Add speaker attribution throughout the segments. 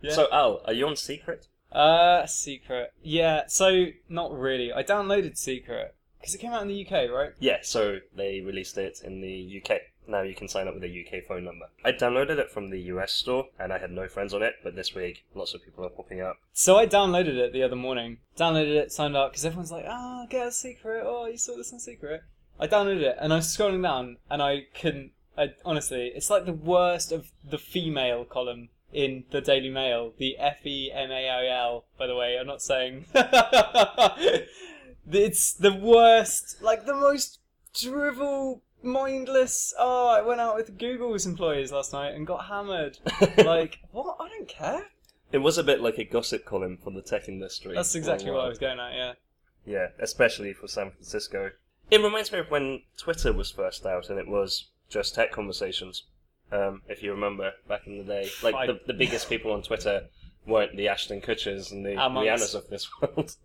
Speaker 1: Yeah.
Speaker 2: So Al, are you on Secret?
Speaker 1: Uh, Secret. Yeah, so not really. I downloaded Secret because it came out in the UK, right?
Speaker 2: Yeah, so they released it in the UK. Now you can sign up with a UK phone number. I downloaded it from the US store and I had no friends on it, but this week lots of people are popping up.
Speaker 1: So I downloaded it the other morning. Downloaded it, signed up because everyone's like, "Ah, get a secret." Oh, you saw this on Secret. I downloaded it and I was scrolling down and I couldn't. I, honestly, it's like the worst of the female column in the Daily Mail. The F E M A I L. By the way, I'm not saying. it's the worst. Like the most drivel, mindless. Oh, I went out with Google's employees last night and got hammered. like what? I don't care.
Speaker 2: It was a bit like a gossip column for the tech industry.
Speaker 1: That's exactly what
Speaker 2: worldwide.
Speaker 1: I was going at, yeah.
Speaker 2: Yeah, especially for San Francisco. It reminds me of when Twitter was first out and it was just tech conversations. Um, if you remember back in the day, like
Speaker 1: I-
Speaker 2: the, the biggest people on Twitter weren't the Ashton Kutchers and the Rihannas
Speaker 1: Amongst-
Speaker 2: of this world,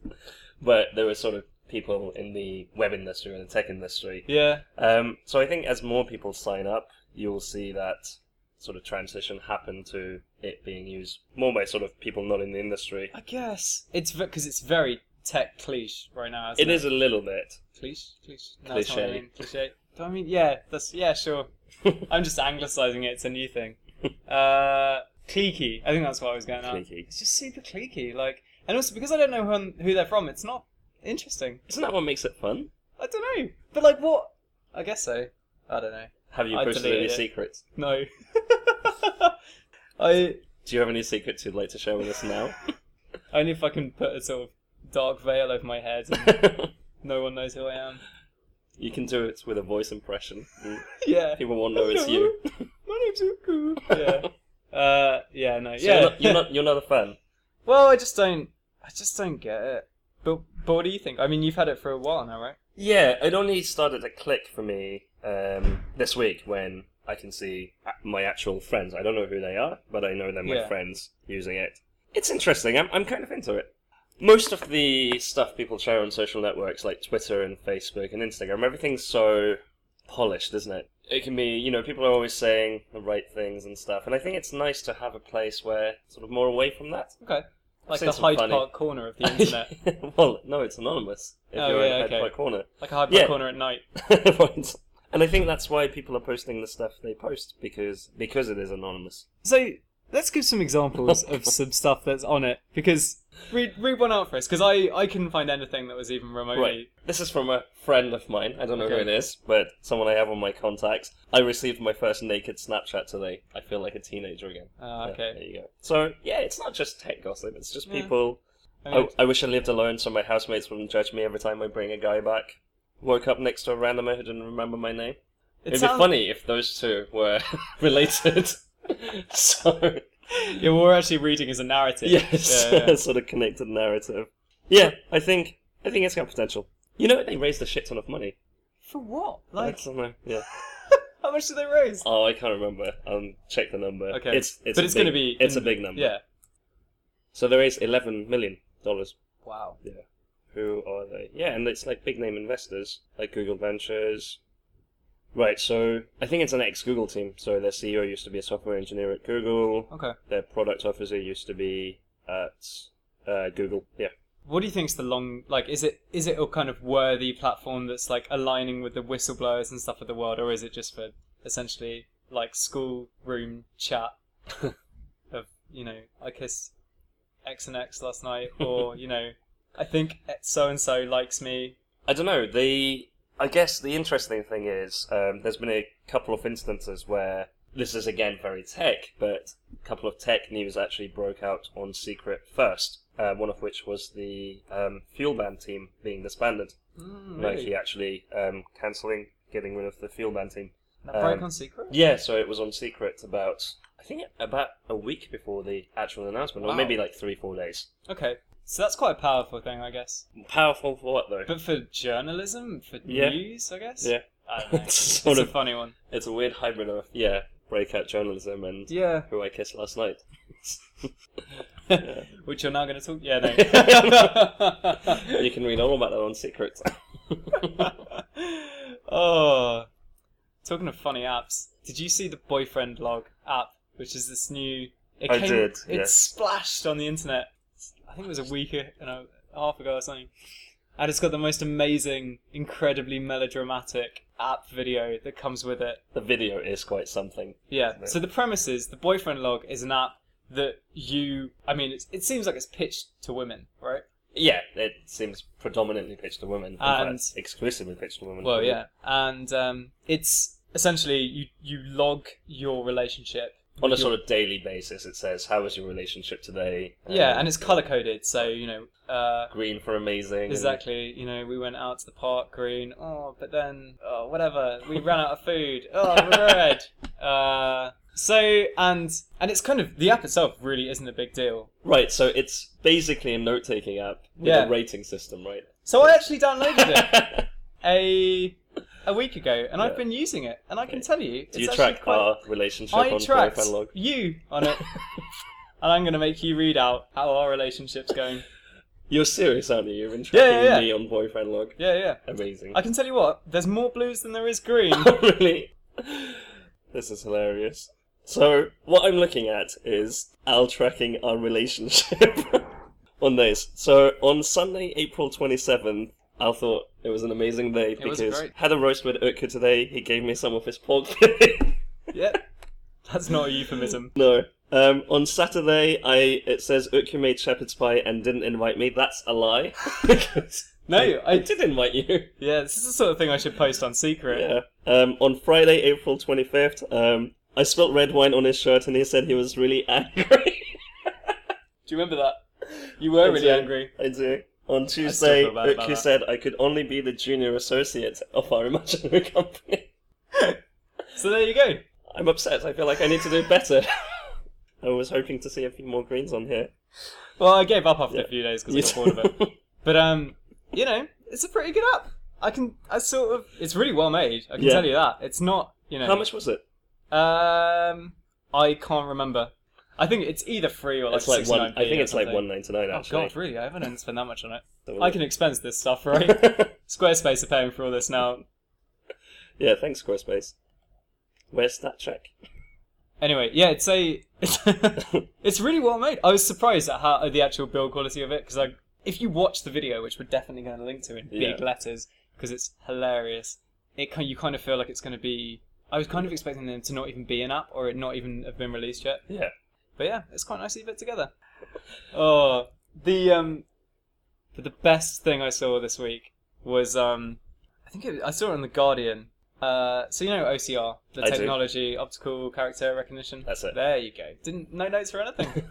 Speaker 2: but there were sort of people in the web industry and the tech industry.
Speaker 1: Yeah.
Speaker 2: Um, so I think as more people sign up, you'll see that sort of transition happen to it being used more by sort of people not in the industry.
Speaker 1: I guess. It's because it's very tech cliche right now, isn't
Speaker 2: It
Speaker 1: it?
Speaker 2: is a little bit.
Speaker 1: Cliche? Cliche? No, that's not what I
Speaker 2: Cliche.
Speaker 1: mean. Cliche. Do I mean, yeah, that's, yeah, sure. I'm just anglicising it, it's a new thing. Uh, cliquey. I think that's what I was going at.
Speaker 2: Cliquey.
Speaker 1: It's just super cliquey, like, and also because I don't know who, who they're from, it's not interesting.
Speaker 2: Isn't that what makes it fun?
Speaker 1: I don't know. But, like, what? I guess so. I don't know.
Speaker 2: Have you
Speaker 1: I
Speaker 2: posted
Speaker 1: deleted
Speaker 2: any
Speaker 1: it.
Speaker 2: secrets?
Speaker 1: No. I
Speaker 2: Do you have any secrets you'd like to share with us now?
Speaker 1: only if I can put a sort of dark veil over my head and no one knows who I am.
Speaker 2: you can do it with a voice impression. Mm.
Speaker 1: Yeah.
Speaker 2: People won't know it's you.
Speaker 1: My name's Uku. Yeah. Uh, yeah, no,
Speaker 2: So
Speaker 1: yeah.
Speaker 2: You're not, you're not, you're not a fan.
Speaker 1: well, I just don't, I just don't get it. But, but what do you think? I mean, you've had it for a while now, right?
Speaker 2: Yeah, it only started to click for me um, this week when I can see a- my actual friends. I don't know who they are, but I know they're my
Speaker 1: Yeah.
Speaker 2: friends using it. It's interesting. I'm, I'm kind of into it. Most of the stuff people share on social networks like Twitter and Facebook and Instagram, everything's so polished, isn't it? It can be, you know, people are always saying the right things and stuff, and I think it's nice to have a place where sort of more away from that.
Speaker 1: Okay. Like
Speaker 2: seen
Speaker 1: the
Speaker 2: some
Speaker 1: Hyde
Speaker 2: funny-
Speaker 1: Park corner of the internet.
Speaker 2: well, no, it's anonymous. If
Speaker 1: Oh,
Speaker 2: you're
Speaker 1: yeah,
Speaker 2: in Hyde
Speaker 1: okay.
Speaker 2: Park Corner.
Speaker 1: like a Hyde Park
Speaker 2: Yeah.
Speaker 1: corner at night.
Speaker 2: Right. And I think that's why people are posting the stuff they post because because it is anonymous.
Speaker 1: So, let's give some examples of some stuff that's on it, because read, read one out for us, because I, I couldn't find anything that was even remotely.
Speaker 2: Right. This is from a friend of mine. I don't know who
Speaker 1: Okay.
Speaker 2: it is, but someone I have on my contacts. I received my first naked Snapchat today. I feel like a teenager again.
Speaker 1: Ah,
Speaker 2: Yeah,
Speaker 1: okay.
Speaker 2: there you go. So yeah, it's not just tech gossip. It's just
Speaker 1: Yeah.
Speaker 2: people.
Speaker 1: I mean,
Speaker 2: I, I wish I lived alone so my housemates wouldn't judge me every time I bring a guy back. Woke up next to a randomer who didn't remember my name.
Speaker 1: it
Speaker 2: It'd
Speaker 1: sounds-
Speaker 2: be funny if those two were related. so
Speaker 1: Yeah, what we're actually reading is a narrative.
Speaker 2: Yes,
Speaker 1: Yeah, yeah.
Speaker 2: sort of connected narrative. Yeah, I think I think it's got potential. You know, they raised a shit ton of money.
Speaker 1: For what? Like,
Speaker 2: I don't know. Yeah.
Speaker 1: how much did they raise?
Speaker 2: Oh, I can't remember. Um, check the number.
Speaker 1: Okay.
Speaker 2: It's it's
Speaker 1: but
Speaker 2: a
Speaker 1: it's
Speaker 2: big-
Speaker 1: going to be.
Speaker 2: it's
Speaker 1: in-
Speaker 2: a big number.
Speaker 1: Yeah.
Speaker 2: So they raised eleven million dollars.
Speaker 1: Wow.
Speaker 2: Who are they? Yeah, and it's like big name investors like Google Ventures. Right. So I think it's an ex Google team. So their CEO used to be a software engineer at Google.
Speaker 1: Okay.
Speaker 2: Their product officer used to be at uh, Google. Yeah.
Speaker 1: What do you think's the long like? Is it is it a kind of worthy platform that's like aligning with the whistleblowers and stuff of the world, or is it just for essentially like school room chat of you know I kissed X and X last night, or you know I think so and so likes me.
Speaker 2: I don't know. The I guess the interesting thing is um, there's been a couple of instances where this is again very tech, but a couple of tech news actually broke out on Secret first. Uh, one of which was the um, fuel ban team being disbanded,
Speaker 1: Mm,
Speaker 2: Nike
Speaker 1: really?
Speaker 2: actually um, cancelling, getting rid of the fuel ban team.
Speaker 1: That broke
Speaker 2: um,
Speaker 1: on secret.
Speaker 2: Yeah, so it was on Secret about I think about a week before the actual announcement,
Speaker 1: Wow.
Speaker 2: or maybe like three four days.
Speaker 1: Okay, so that's quite a powerful thing, I guess.
Speaker 2: Powerful for what though?
Speaker 1: But for journalism, for
Speaker 2: Yeah.
Speaker 1: news, I guess.
Speaker 2: yeah,
Speaker 1: I don't know.
Speaker 2: It's
Speaker 1: it's
Speaker 2: sort
Speaker 1: a
Speaker 2: of-
Speaker 1: funny one.
Speaker 2: it's a weird hybrid of yeah breakout journalism and
Speaker 1: Yeah.
Speaker 2: who I kissed last night.
Speaker 1: Which you're now going to talk. Yeah,
Speaker 2: you
Speaker 1: no.
Speaker 2: can read all about that on Secret.
Speaker 1: oh, talking of funny apps, did you see the boyfriend log app, which is this new? It
Speaker 2: I did,
Speaker 1: It
Speaker 2: yeah.
Speaker 1: splashed on the internet. I think it was a week and a half ago or something. And it's got the most amazing, incredibly melodramatic app video that comes with it.
Speaker 2: The video is quite something.
Speaker 1: Yeah.
Speaker 2: Right.
Speaker 1: So the premise is the boyfriend log is an app that you. I mean, it's, it seems like it's pitched to women, right?
Speaker 2: Yeah, it seems predominantly pitched to women. In
Speaker 1: And-
Speaker 2: fact, exclusively pitched to women.
Speaker 1: Well, yeah, and um, it's essentially you you log your relationship
Speaker 2: On a
Speaker 1: with your-
Speaker 2: sort of daily basis, it says, "How was your relationship today?" Uh,
Speaker 1: yeah, and it's color coded, so you know uh,
Speaker 2: green for amazing. and-
Speaker 1: exactly. You know, we went out to the park green. Oh, but then oh, whatever, we ran out of food. Oh, we're red. Uh, so and and it's kind of the app itself really isn't a big deal.
Speaker 2: Right, so it's basically a note-taking app with
Speaker 1: Yeah.
Speaker 2: a rating system, right?
Speaker 1: So I actually downloaded it a a week ago, and I've
Speaker 2: Yeah.
Speaker 1: been using it, and I can
Speaker 2: Okay.
Speaker 1: tell you, it's
Speaker 2: Do you
Speaker 1: actually
Speaker 2: track
Speaker 1: quite...
Speaker 2: our relationship
Speaker 1: I
Speaker 2: on
Speaker 1: tracked
Speaker 2: Profile Log?
Speaker 1: you on it, and I'm going to make you read out how our relationship's going.
Speaker 2: You're serious, aren't you? You've been
Speaker 1: Yeah,
Speaker 2: tracking
Speaker 1: yeah, yeah.
Speaker 2: me on Boyfriend Log.
Speaker 1: Yeah, yeah.
Speaker 2: Amazing.
Speaker 1: I can tell you what, there's more blues than there is green.
Speaker 2: really? This is hilarious. So, what I'm looking at is Al tracking our relationship on those. So, on Sunday, April 27th, Al thought it was an amazing day
Speaker 1: was
Speaker 2: because
Speaker 1: great.
Speaker 2: had a roast with Utku today. He gave me some of his pork belly.
Speaker 1: yeah. That's not a euphemism.
Speaker 2: No. Um, on Saturday, I it says Utku made shepherd's pie and didn't invite me. That's a lie. Because
Speaker 1: No,
Speaker 2: I
Speaker 1: I.
Speaker 2: did invite you.
Speaker 1: Yeah, this is the sort of thing I should post on secret.
Speaker 2: Yeah. Um, on Friday, April twenty fifth, um, I spilt red wine on his shirt, and he said he was really angry.
Speaker 1: Do you remember that? You were really
Speaker 2: Exactly.
Speaker 1: angry.
Speaker 2: I do. On
Speaker 1: still
Speaker 2: Tuesday,
Speaker 1: feel bad about
Speaker 2: Utku
Speaker 1: that.
Speaker 2: said I could only be the junior associate of our imaginary company.
Speaker 1: So there you go.
Speaker 2: I'm upset. I feel like I need to do better. I was hoping to see a few more greens on here.
Speaker 1: Well, I gave up after a
Speaker 2: Yeah.
Speaker 1: few days because I got bored of it. But um, you know, it's a pretty good app. I can, I sort of, it's really well made. I can
Speaker 2: Yeah.
Speaker 1: tell you that. It's not, you know.
Speaker 2: How much was it?
Speaker 1: Um, I can't remember. I think it's either free or like
Speaker 2: It's like one.
Speaker 1: 69p
Speaker 2: I think
Speaker 1: or
Speaker 2: it's like
Speaker 1: something.
Speaker 2: one ninety nine.
Speaker 1: Oh
Speaker 2: Actually,
Speaker 1: god, really? I haven't spent that much on it.
Speaker 2: So-
Speaker 1: I can expense this stuff, right? Squarespace are paying for all this now.
Speaker 2: yeah, thanks, Squarespace. Where's that check?
Speaker 1: Anyway, yeah, it's a, it's really well made. I was surprised at how at the actual build quality of it because like if you watch the video, which we're definitely going to link to in big
Speaker 2: Yeah.
Speaker 1: letters because it's hilarious, it kind you kind of feel like it's going to be. I was kind of expecting them to not even be an app or it not even have been released yet.
Speaker 2: Yeah.
Speaker 1: But yeah, it's quite nicely put together. Oh, the um, but the best thing I saw this week was um, I think it, I saw it on the Guardian. Uh, so you know OCR, the
Speaker 2: I do.
Speaker 1: technology, optical character recognition.
Speaker 2: That's it.
Speaker 1: There you go. Didn't no notes for anything.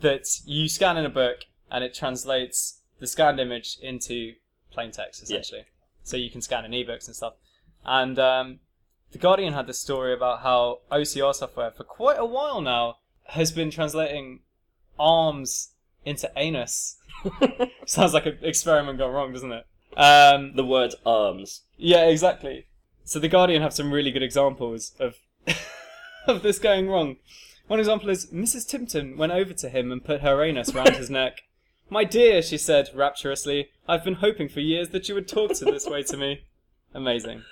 Speaker 1: that you scan in a book and it translates the scanned image into plain text essentially. So you can scan in ebooks and stuff. And um, the Guardian had this story about how OCR software for quite a while now has been translating arms into anus. Sounds like an experiment gone wrong, doesn't it? Um,
Speaker 2: The word arms.
Speaker 1: yeah, exactly. So the Guardian have some really good examples of of this going wrong. One example is Mrs. Timpton went over to him and put her anus round his neck. My dear, she said rapturously, I've been hoping for years that you would talk to this way to me. Amazing.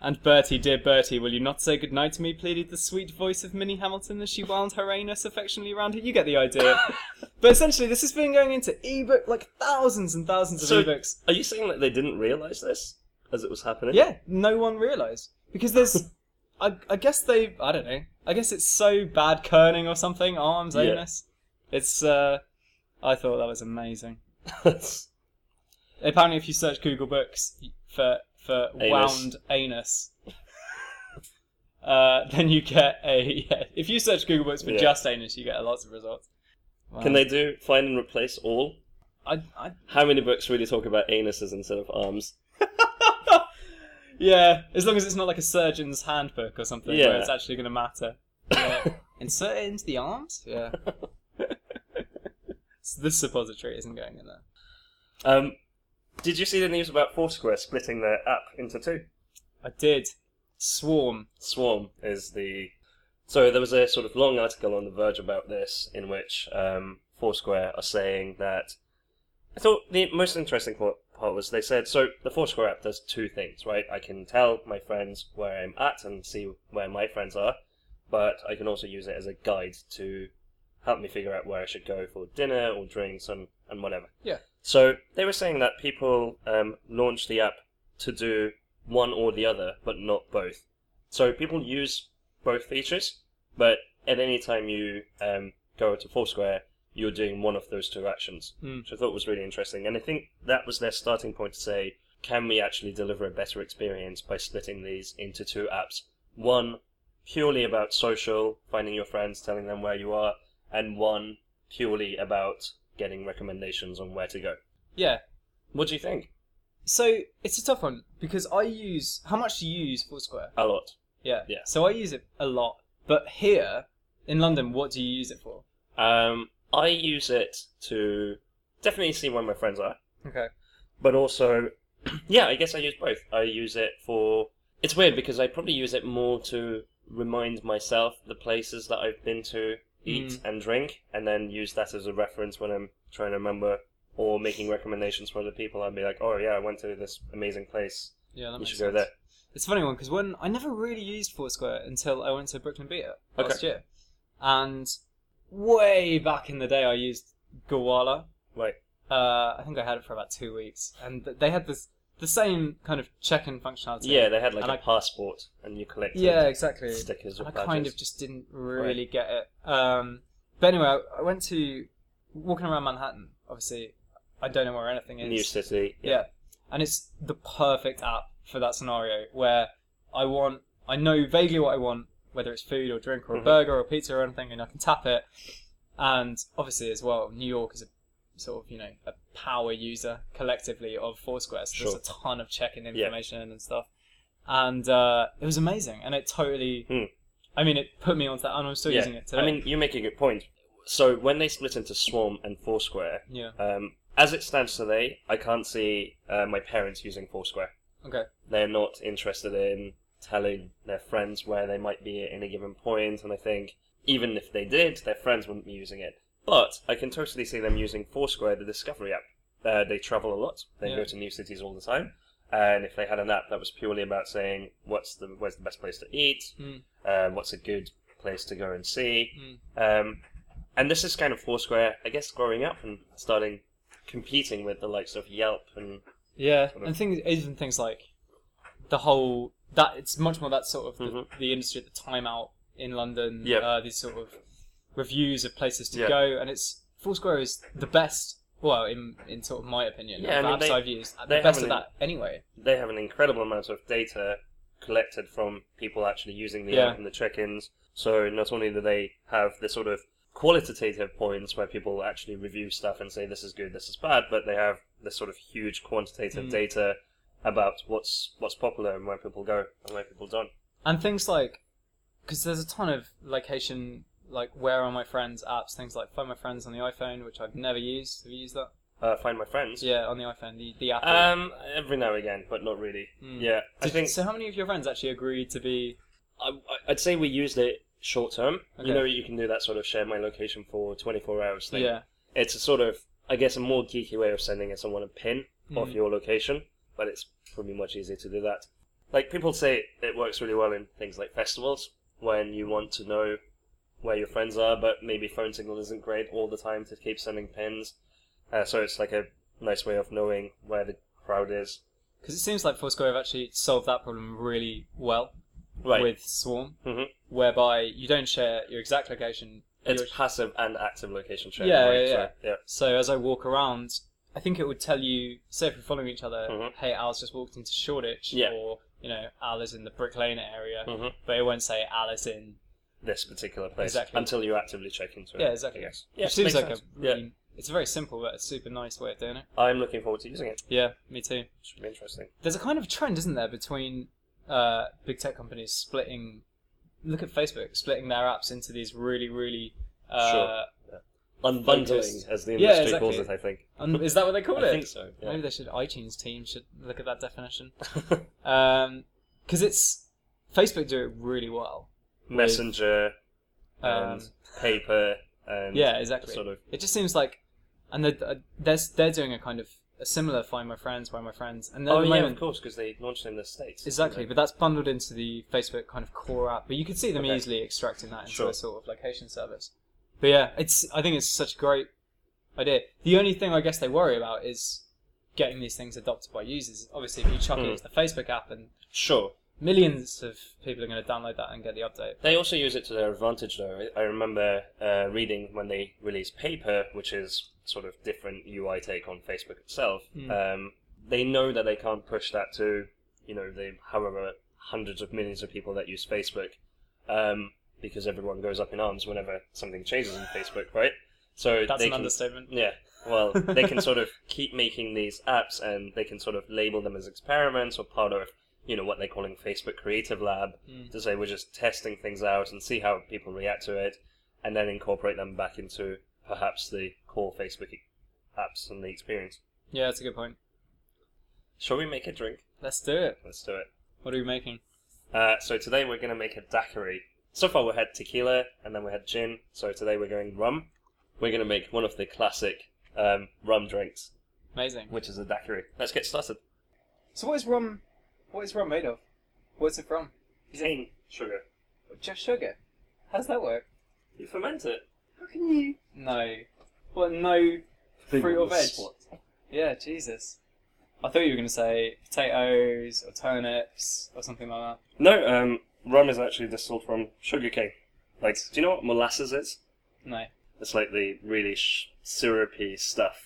Speaker 1: And Bertie, dear Bertie, will you not say good night to me? pleaded the sweet voice of Minnie Hamilton as she wound her anus affectionately round her. You get the idea. but essentially, this has been going into ebook like thousands and thousands of
Speaker 2: So-
Speaker 1: ebooks.
Speaker 2: Are you saying that they didn't realise this as it was happening?
Speaker 1: Yeah, no one realised because there's. I, I guess they. I don't know. I guess it's so bad kerning or something. Arms,
Speaker 2: Yeah.
Speaker 1: anus. It's. uh I thought that was amazing.
Speaker 2: That's-
Speaker 1: Apparently, if you search Google Books for for
Speaker 2: Anus.
Speaker 1: wound anus, uh, then you get a. Yeah, if you search Google Books for
Speaker 2: Yeah.
Speaker 1: just anus, you get lots of results. Wow.
Speaker 2: Can they do find and replace all?
Speaker 1: I, I,
Speaker 2: How many books really talk about anuses instead of arms?
Speaker 1: yeah, as long as it's not like a surgeon's handbook or something where
Speaker 2: Yeah.
Speaker 1: it's actually going to matter. Yeah. Insert it into the arms? Yeah. so this suppository isn't going in there.
Speaker 2: Um, did you see the news about Foursquare splitting their app into two?
Speaker 1: I did. Swarm.
Speaker 2: Swarm is the. So there was a sort of long article on The Verge about this, in which um, Foursquare are saying that. I thought the most interesting part part was they said so the Foursquare app does two things, right? I can tell my friends where I'm at and see where my friends are, but I can also use it as a guide to help me figure out where I should go for dinner or drinks and, and whatever.
Speaker 1: Yeah.
Speaker 2: So they were saying that people um, launch the app to do one or the other, but not both. So people use both features, but at any time you um, go to Foursquare, you're doing one of those two actions,
Speaker 1: Mm.
Speaker 2: which I thought was really interesting. And I think that was their starting point to say, can we actually deliver a better experience by splitting these into two apps? One purely about social, finding your friends, telling them where you are, and one purely about getting recommendations on where to go.
Speaker 1: Yeah.
Speaker 2: What do you think?
Speaker 1: So it's a tough one because I use how much do you use Foursquare?
Speaker 2: A lot.
Speaker 1: Yeah.
Speaker 2: Yeah.
Speaker 1: So I use it a lot. But here in London, what do you use it for?
Speaker 2: Um, I use it to definitely see where my friends are,
Speaker 1: Okay.
Speaker 2: but also, yeah, I guess I use both. I use it for. It's weird because I probably use it more to remind myself the places that I've been to, eat
Speaker 1: Mm.
Speaker 2: and drink, and then use that as a reference when I'm trying to remember or making recommendations for other people. I'd be like, oh yeah, I went to this amazing place.
Speaker 1: Yeah, that
Speaker 2: You
Speaker 1: makes
Speaker 2: should
Speaker 1: sense.
Speaker 2: go there.
Speaker 1: It's a funny one because when I never really used Foursquare until I went to Brooklyn Beta last
Speaker 2: Okay.
Speaker 1: year, and way back in the day, I used Gowalla.
Speaker 2: Right.
Speaker 1: Uh, I think I had it for about two weeks, and th- they had this the same kind of check-in functionality.
Speaker 2: Yeah, they had like
Speaker 1: And
Speaker 2: a
Speaker 1: I-
Speaker 2: passport, and you collected
Speaker 1: Yeah, exactly.
Speaker 2: stickers or
Speaker 1: And I
Speaker 2: badges.
Speaker 1: kind of just didn't really get it. Um, but anyway, I- I went to walking around Manhattan. Obviously, I don't know where anything is.
Speaker 2: New city.
Speaker 1: Yeah. And it's the perfect app for that scenario where I want, I know vaguely what I want, whether it's food or drink or a
Speaker 2: Mhm.
Speaker 1: burger or pizza or anything, and I can tap it. And obviously, as well, New York is a sort of, you know, a power user collectively of Foursquare. So
Speaker 2: Sure.
Speaker 1: there's a ton of check in
Speaker 2: Yeah.
Speaker 1: information and stuff. And uh, it was amazing. And it totally,
Speaker 2: Hmm.
Speaker 1: I mean, it put me onto that, and I'm still using it today.
Speaker 2: I mean, you make a good point. So when they split into Swarm and Foursquare,
Speaker 1: yeah.
Speaker 2: um, as it stands today, I can't see uh, my parents using Foursquare.
Speaker 1: Okay.
Speaker 2: They're not interested in telling their friends where they might be at any given point, and I think even if they did, their friends wouldn't be using it. But I can totally see them using Foursquare, the discovery app. Uh, they travel a lot. They
Speaker 1: Yeah.
Speaker 2: go to new cities all the time. And if they had an app that was purely about saying what's the where's the best place to eat,
Speaker 1: Mm.
Speaker 2: uh, what's a good place to go and see,
Speaker 1: Mm.
Speaker 2: um, and this is kind of Foursquare, I guess, growing up and starting competing with the likes of Yelp and
Speaker 1: Yeah,
Speaker 2: Sort of-
Speaker 1: and things even things like the whole that it's much more that sort of the,
Speaker 2: Mhm.
Speaker 1: the industry at the time out in London.
Speaker 2: Yep.
Speaker 1: uh, these sort of reviews of places to
Speaker 2: Yeah.
Speaker 1: go, and it's Foursquare is the best. Well, in in sort of my opinion,
Speaker 2: Yeah, I
Speaker 1: of
Speaker 2: mean,
Speaker 1: apps
Speaker 2: they-
Speaker 1: I've used, the
Speaker 2: they
Speaker 1: best of
Speaker 2: haven't-
Speaker 1: that anyway.
Speaker 2: they have an incredible amount of data collected from people actually using the
Speaker 1: Yeah.
Speaker 2: app and the check-ins. So not only do they have the sort of qualitative points where people actually review stuff and say this is good, this is bad, but they have this sort of huge quantitative
Speaker 1: Mm.
Speaker 2: data about what's what's popular and where people go and where people don't.
Speaker 1: and things like because there's a ton of location like where are my friends apps, things like find my friends on the iPhone, which I've never used. Have you used that?
Speaker 2: Uh, find my friends.
Speaker 1: Yeah, on the iPhone, the the Apple.
Speaker 2: Um, every now and again, but not really.
Speaker 1: Mm.
Speaker 2: Yeah, I
Speaker 1: Did-
Speaker 2: think
Speaker 1: so. How many of your friends actually agreed to be?
Speaker 2: I, I- I'd say we used it short term.
Speaker 1: Okay.
Speaker 2: You know, you can do that sort of share my location for 24 hours thing.
Speaker 1: Yeah.
Speaker 2: It's a sort of, I guess, a more geeky way of sending someone a pin of
Speaker 1: Mm.
Speaker 2: your location, but it's probably much easier to do that. Like, people say it works really well in things like festivals when you want to know where your friends are, but maybe phone signal isn't great all the time to keep sending pins. Uh, so it's like a nice way of knowing where the crowd is.
Speaker 1: Because it seems like Foursquare have actually solved that problem really well
Speaker 2: Right.
Speaker 1: with Swarm,
Speaker 2: Mhm.
Speaker 1: whereby you don't share your exact location.
Speaker 2: it's
Speaker 1: your-
Speaker 2: passive and active location sharing.
Speaker 1: Yeah,
Speaker 2: right?
Speaker 1: yeah,
Speaker 2: So,
Speaker 1: yeah. So as I walk around, I think it would tell you, say if we're following each other,
Speaker 2: Mhm.
Speaker 1: hey, Al's just walked into Shoreditch,
Speaker 2: Yeah.
Speaker 1: or, you know, Al is in the Brick Lane area,
Speaker 2: Mhm.
Speaker 1: but it won't say Alice in.
Speaker 2: this particular place
Speaker 1: Exactly.
Speaker 2: until you actively check into it.
Speaker 1: Yeah, exactly.
Speaker 2: I guess.
Speaker 1: Which seems like a
Speaker 2: yeah.
Speaker 1: really. It's very simple, but a super nice way of doing it.
Speaker 2: I'm looking forward to using it.
Speaker 1: Yeah, me too.
Speaker 2: Should be interesting.
Speaker 1: there's a kind of trend, isn't there, between uh, big tech companies splitting. Look at Facebook splitting their apps into these really, really. Uh,
Speaker 2: Sure. Unbundling,
Speaker 1: Focused.
Speaker 2: as the
Speaker 1: Yeah,
Speaker 2: industry
Speaker 1: exactly.
Speaker 2: calls it, I think.
Speaker 1: un- is that what they call
Speaker 2: I
Speaker 1: it?
Speaker 2: think so. Yeah.
Speaker 1: Maybe they should. iTunes team should look at that definition. Because it's Facebook do it really well.
Speaker 2: Messenger
Speaker 1: Um,
Speaker 2: and paper and
Speaker 1: yeah, exactly.
Speaker 2: sort of
Speaker 1: It just seems like, and they're uh, they're, they're doing a kind of a similar find my friends, where my friends, and at
Speaker 2: oh
Speaker 1: the
Speaker 2: yeah,
Speaker 1: moment
Speaker 2: of course, because they launched in the states.
Speaker 1: Exactly, but that's bundled into the Facebook kind of core app. But you could see them
Speaker 2: Okay.
Speaker 1: easily extracting that into
Speaker 2: Sure.
Speaker 1: a sort of location service. But yeah, it's I think it's such a great idea. The only thing I guess they worry about is getting these things adopted by users. Obviously, if you chuck it
Speaker 2: Hmm.
Speaker 1: into the Facebook app, and
Speaker 2: Sure.
Speaker 1: millions of people are going to download that and get the update.
Speaker 2: They also use it to their advantage, though. I I remember uh, reading when they released Paper, which is sort of different UI take on Facebook itself.
Speaker 1: Mm.
Speaker 2: Um, they know that they can't push that to, you know, the however hundreds of millions of people that use Facebook, um, because everyone goes up in arms whenever something changes in Facebook, right? So
Speaker 1: That's
Speaker 2: they
Speaker 1: an
Speaker 2: can,
Speaker 1: understatement.
Speaker 2: yeah. Well, they can sort of keep making these apps, and they can sort of label them as experiments or part of, you know, what they're calling Facebook Creative Lab
Speaker 1: Mm.
Speaker 2: to say we're just testing things out and see how people react to it, and then incorporate them back into perhaps the core Facebook e- apps and the experience.
Speaker 1: Yeah, that's a good point.
Speaker 2: Shall we make a drink?
Speaker 1: Let's do it.
Speaker 2: Let's do it.
Speaker 1: What are we making?
Speaker 2: Uh, so today we're going to make a daiquiri. So far we had tequila and then we had gin. So today we're going rum. We're going to make one of the classic um, rum drinks,
Speaker 1: Amazing.
Speaker 2: which is a daiquiri. Let's get started.
Speaker 1: So what is rum? What is rum made of? What's it from?
Speaker 2: Cane sugar.
Speaker 1: Just sugar. How does that work?
Speaker 2: You ferment it.
Speaker 1: How can you? No. What? No fruit or veg? Yeah, Jesus. I thought you were going to say potatoes or turnips or something like that.
Speaker 2: No, um, rum is actually distilled from sugar cane. Like, do you know what molasses is?
Speaker 1: No.
Speaker 2: It's like the really sh- syrupy stuff.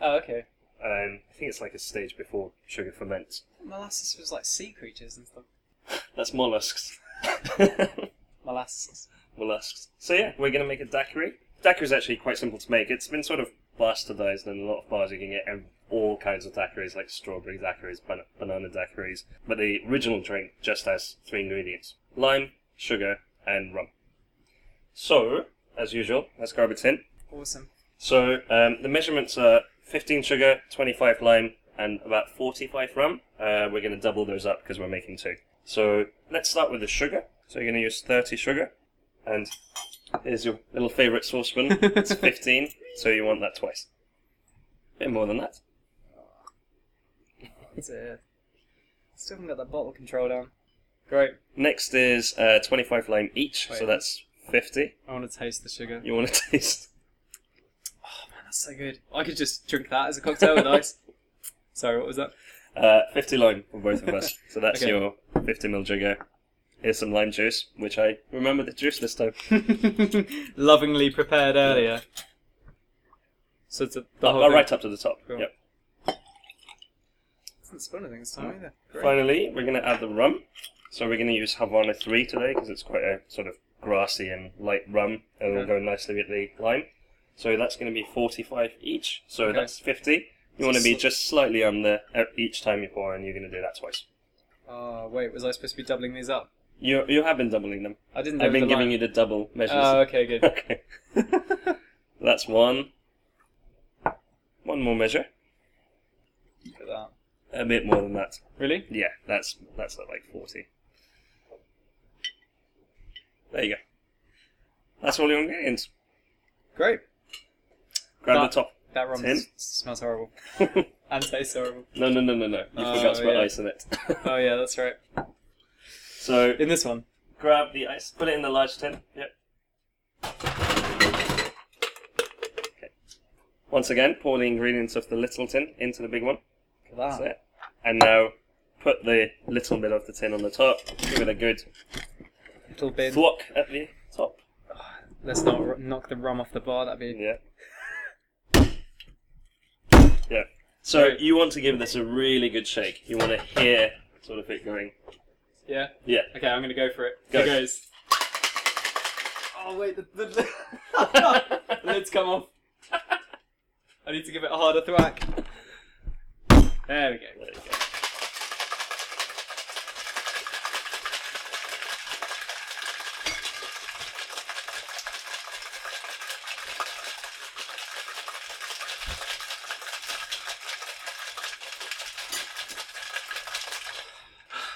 Speaker 1: Oh, okay.
Speaker 2: Um, I think it's like a stage before sugar ferments.
Speaker 1: Molasses was like sea creatures and stuff.
Speaker 2: That's mollusks.
Speaker 1: Molasses.
Speaker 2: mollusks. So yeah, we're gonna make a daiquiri. Daiquiri is actually quite simple to make. It's been sort of bastardized in a lot of bars. You can get ev- all kinds of daiquiris, like strawberry daiquiris, ban- banana daiquiris. But the original drink just has three ingredients: lime, sugar, and rum. So, as usual, let's grab a tin.
Speaker 1: Awesome.
Speaker 2: So um, the measurements are 15 sugar, 25 lime, and about 45 rum. Uh, we're going to double those up because we're making two. So let's start with the sugar. So you're going to use 30 sugar, and here's your little favourite saucepan. it's 15, so you want that twice. bit more than that.
Speaker 1: That's it. Still haven't got that bottle control down. Great.
Speaker 2: Next is uh, 25 lime each, so
Speaker 1: Wait.
Speaker 2: that's 50.
Speaker 1: I want to taste the sugar.
Speaker 2: You want to taste?
Speaker 1: That's so good. I could just drink that as a cocktail with ice. Sorry, what was that?
Speaker 2: Uh, 50 lime for both of us. So that's
Speaker 1: Okay.
Speaker 2: your 50 ml jigger. Here's some lime juice, which I remember the juice this time.
Speaker 1: Lovingly prepared earlier. So it's a, the
Speaker 2: Uh,
Speaker 1: whole
Speaker 2: uh,
Speaker 1: thing.
Speaker 2: right up to the top.
Speaker 1: Oh, Cool.
Speaker 2: Yep.
Speaker 1: Doesn't spill anything this time either. Great.
Speaker 2: Finally, we're going to add the rum. So we're going to use Havana 3 today because it's quite a sort of grassy and light rum. and It'll
Speaker 1: Okay.
Speaker 2: go nicely with the lime. So that's going to be 45 each. So
Speaker 1: Okay.
Speaker 2: that's 50. You
Speaker 1: So
Speaker 2: want to be
Speaker 1: sl-
Speaker 2: just slightly on the uh, each time you pour, and you're going to do that twice.
Speaker 1: Oh wait, was I supposed to be doubling these up?
Speaker 2: You you have been doubling them.
Speaker 1: I didn't.
Speaker 2: I've been giving you the double measures.
Speaker 1: Oh, okay, good.
Speaker 2: okay. That's one. One more measure.
Speaker 1: Look at that.
Speaker 2: A bit more than that.
Speaker 1: Really?
Speaker 2: Yeah, that's that's at like forty. There you go. That's all your ingredients.
Speaker 1: Great.
Speaker 2: Grab
Speaker 1: That-
Speaker 2: the top.
Speaker 1: That rum
Speaker 2: Tin?
Speaker 1: s- smells horrible and tastes horrible.
Speaker 2: no, no, no, no, no. You
Speaker 1: Oh,
Speaker 2: forgot to put
Speaker 1: yeah.
Speaker 2: ice in it.
Speaker 1: Oh yeah, that's right.
Speaker 2: so
Speaker 1: In this one.
Speaker 2: grab the ice. Put it in the large tin. Yep. Okay. Once again, pour the ingredients of the little tin into the big one.
Speaker 1: Look at
Speaker 2: That's
Speaker 1: that.
Speaker 2: it. And now put the little bit of the tin on the top. Give it a good
Speaker 1: Little bit.
Speaker 2: thwack at the top.
Speaker 1: Let's not r- knock the rum off the bar. That'd be.
Speaker 2: Yeah. Yeah. So
Speaker 1: Right.
Speaker 2: you want to give this a really good shake. You want to hear sort of it going.
Speaker 1: Yeah.
Speaker 2: Yeah.
Speaker 1: Okay, I'm gonna go for it.
Speaker 2: Go.
Speaker 1: Here goes. Oh wait, the, the, the lid's come off. I need to give it a harder thwack. There we go.
Speaker 2: There you go.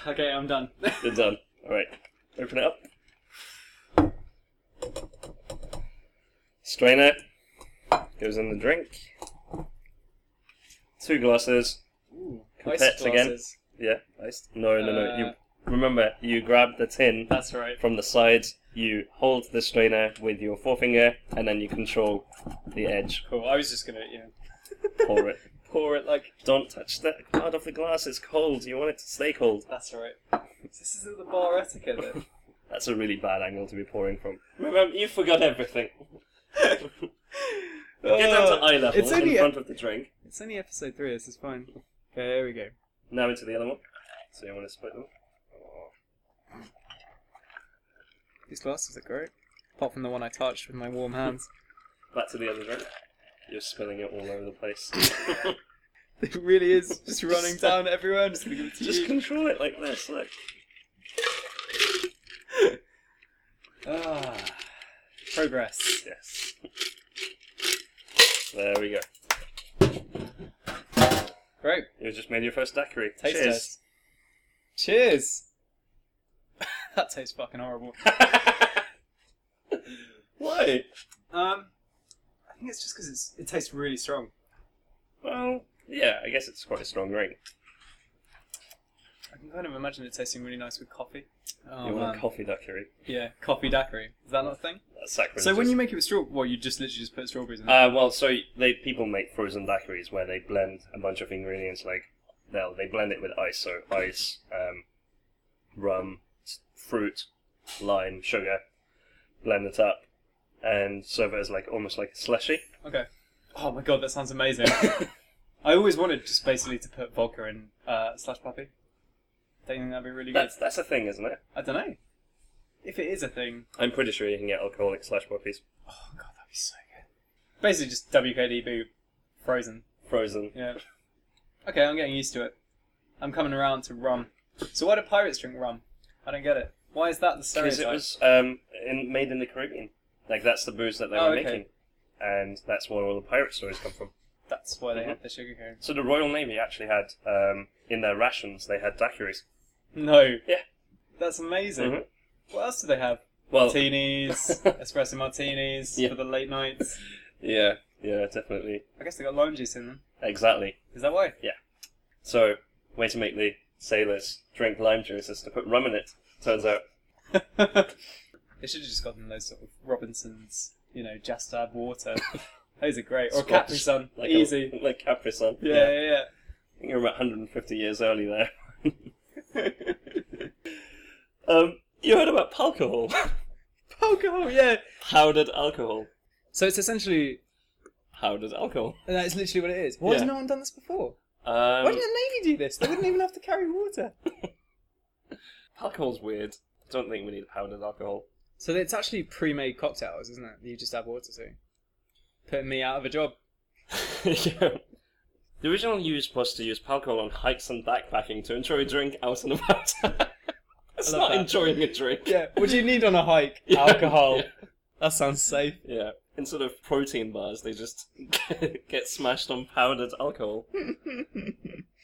Speaker 1: Okay, I'm done.
Speaker 2: You're done. All right. Open it up. Strain it. Goes in the drink. Two glasses.
Speaker 1: Ooh,
Speaker 2: Pipettes
Speaker 1: ice
Speaker 2: again.
Speaker 1: glasses.
Speaker 2: Yeah. Iced. No, no, no.
Speaker 1: Uh,
Speaker 2: You remember you grabbed the tin
Speaker 1: That's right.
Speaker 2: from the sides. you hold the strainer with your forefinger, and then you control the edge.
Speaker 1: Cool. I was just gonna you know,
Speaker 2: Pour it.
Speaker 1: pour it like
Speaker 2: Don't touch that card off the glass. It's cold. You want it to stay cold.
Speaker 1: that's all right. This is the bar etiquette. Then.
Speaker 2: That's a really bad angle to be pouring from. Remember, you forgot everything. Uh, Get down to
Speaker 1: Oh,
Speaker 2: eye level
Speaker 1: it's only
Speaker 2: in
Speaker 1: a-
Speaker 2: front of the drink.
Speaker 1: it's only episode three. This is fine. Okay, here we go.
Speaker 2: Now into the other one. So you want to split them?
Speaker 1: These glasses are great. Apart from the one I touched with my warm hands,
Speaker 2: Back to the other drink. You're spilling it all over the place.
Speaker 1: it really is just running down everywhere. I'm just gonna give it to
Speaker 2: Just
Speaker 1: you.
Speaker 2: control it like this. Look.
Speaker 1: Ah, progress.
Speaker 2: Yes. There we go.
Speaker 1: Great.
Speaker 2: You just made your first daiquiri.
Speaker 1: Taste
Speaker 2: Cheers.
Speaker 1: test. Cheers. that tastes fucking horrible.
Speaker 2: Why?
Speaker 1: Um, I think it's just because it's it tastes really strong.
Speaker 2: Well, yeah, I guess it's quite a strong drink.
Speaker 1: I can kind of imagine it tasting really nice with coffee. Oh,
Speaker 2: you want
Speaker 1: man.
Speaker 2: a coffee daiquiri?
Speaker 1: yeah, coffee daiquiri. Is that not a thing?
Speaker 2: That's sacrilegious.
Speaker 1: So when you make it with straw, well, you just literally just put strawberries in. it.
Speaker 2: Uh, well, so they people make frozen daiquiris where they blend a bunch of ingredients like they'll they blend it with ice, so ice, um, rum, s- fruit, lime, sugar, blend it up, and serve it as like almost like a slushy.
Speaker 1: okay. Oh my god, that sounds amazing. I always wanted just basically to put vodka in uh, slash puppy. Don't you think that'd be really good?
Speaker 2: That's that's a thing, isn't it?
Speaker 1: I don't know. If it is a thing,
Speaker 2: I'm pretty sure you can get alcoholic slash puppies
Speaker 1: oh god, that'd be so good. Basically, just WKD boo, frozen.
Speaker 2: frozen.
Speaker 1: Yeah. Okay, I'm getting used to it. I'm coming around to rum. So why do pirates drink rum? I don't get it. Why is that the
Speaker 2: Because
Speaker 1: stereotype?
Speaker 2: it was um, in, made in the Caribbean. Like that's the booze that they
Speaker 1: Oh,
Speaker 2: were
Speaker 1: okay.
Speaker 2: making, and that's where all the pirate stories come from.
Speaker 1: That's why they
Speaker 2: Mhm.
Speaker 1: had the sugar cane.
Speaker 2: So the Royal Navy actually had um, in their rations they had daiquiris.
Speaker 1: No.
Speaker 2: Yeah.
Speaker 1: That's amazing.
Speaker 2: Mhm.
Speaker 1: What else do they have?
Speaker 2: Well,
Speaker 1: Martinis, espresso martinis
Speaker 2: Yeah.
Speaker 1: for the late nights.
Speaker 2: yeah, yeah, definitely,
Speaker 1: I guess they got lime juice in them.
Speaker 2: exactly.
Speaker 1: Is that why?
Speaker 2: So way to make the sailors drink lime juice is to put rum in it. Turns out,
Speaker 1: they should have just gotten those sort of Robinsons, you know, just add water. those are great. Or
Speaker 2: Scotch,
Speaker 1: Capri Sun,
Speaker 2: like
Speaker 1: easy.
Speaker 2: a, like Capri Sun.
Speaker 1: yeah, yeah, yeah.
Speaker 2: I think you're about 150 years early there. um, you heard about palcohol,
Speaker 1: Alcohol, yeah.
Speaker 2: powdered alcohol,
Speaker 1: So it's essentially
Speaker 2: powdered alcohol.
Speaker 1: that is literally what it is. Why has
Speaker 2: Yeah.
Speaker 1: no one done this before?
Speaker 2: Um,
Speaker 1: Why did the Navy do this? They wouldn't even have to carry water.
Speaker 2: Alcohol's weird. I don't think we need powdered alcohol.
Speaker 1: So it's actually pre-made cocktails, isn't it? You just add water to. Putting me out of a job.
Speaker 2: yeah. The original use was to use palcohol on hikes and backpacking to enjoy a drink out and about. it's
Speaker 1: I love
Speaker 2: not
Speaker 1: that.
Speaker 2: enjoying a drink.
Speaker 1: Yeah. What do you need on a hike?
Speaker 2: Yeah,
Speaker 1: Alcohol.
Speaker 2: yeah.
Speaker 1: That sounds safe.
Speaker 2: Yeah. Instead of protein bars, they just get smashed on powdered alcohol.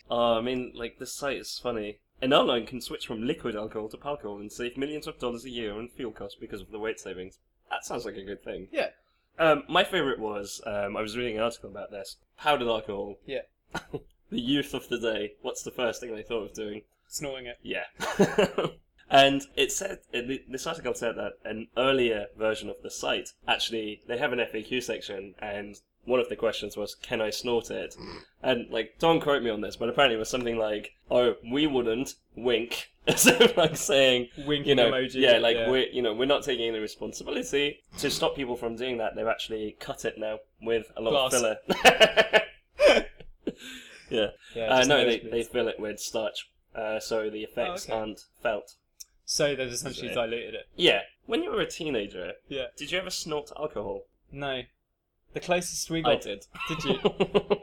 Speaker 2: Oh, I mean, like, this site is funny. An airline can switch from liquid alcohol to palcohol and save millions of dollars a year on fuel costs because of the weight savings. That sounds like a good thing.
Speaker 1: Yeah.
Speaker 2: Um, my favourite was, um, I was reading an article about this. Powdered alcohol.
Speaker 1: Yeah.
Speaker 2: the youth of the day. What's the first thing they thought of doing?
Speaker 1: Snorting it.
Speaker 2: Yeah. and it said, and th- this article said that an earlier version of the site, actually, they have an FAQ section, and one of the questions was, can I snort it?
Speaker 1: Hmm.
Speaker 2: And, like, don't quote me on this, but apparently it was something like, oh, we wouldn't, wink. As if, like, saying,
Speaker 1: Winking
Speaker 2: you know,
Speaker 1: emoji.
Speaker 2: yeah, like, we're, you know, we're not taking any responsibility. To stop people from doing that, they've actually cut it now with a lot
Speaker 1: Glass.
Speaker 2: of filler. yeah.
Speaker 1: Yeah,
Speaker 2: Uh,
Speaker 1: just
Speaker 2: no, they,
Speaker 1: nosebleeds.
Speaker 2: they fill it with starch, uh, so the effects
Speaker 1: Oh, okay.
Speaker 2: aren't felt.
Speaker 1: So they've essentially
Speaker 2: Yeah.
Speaker 1: diluted it.
Speaker 2: Yeah. When you were a teenager,
Speaker 1: Yeah.
Speaker 2: did you ever snort alcohol?
Speaker 1: No. The closest we
Speaker 2: I
Speaker 1: got.
Speaker 2: did.
Speaker 1: Did you?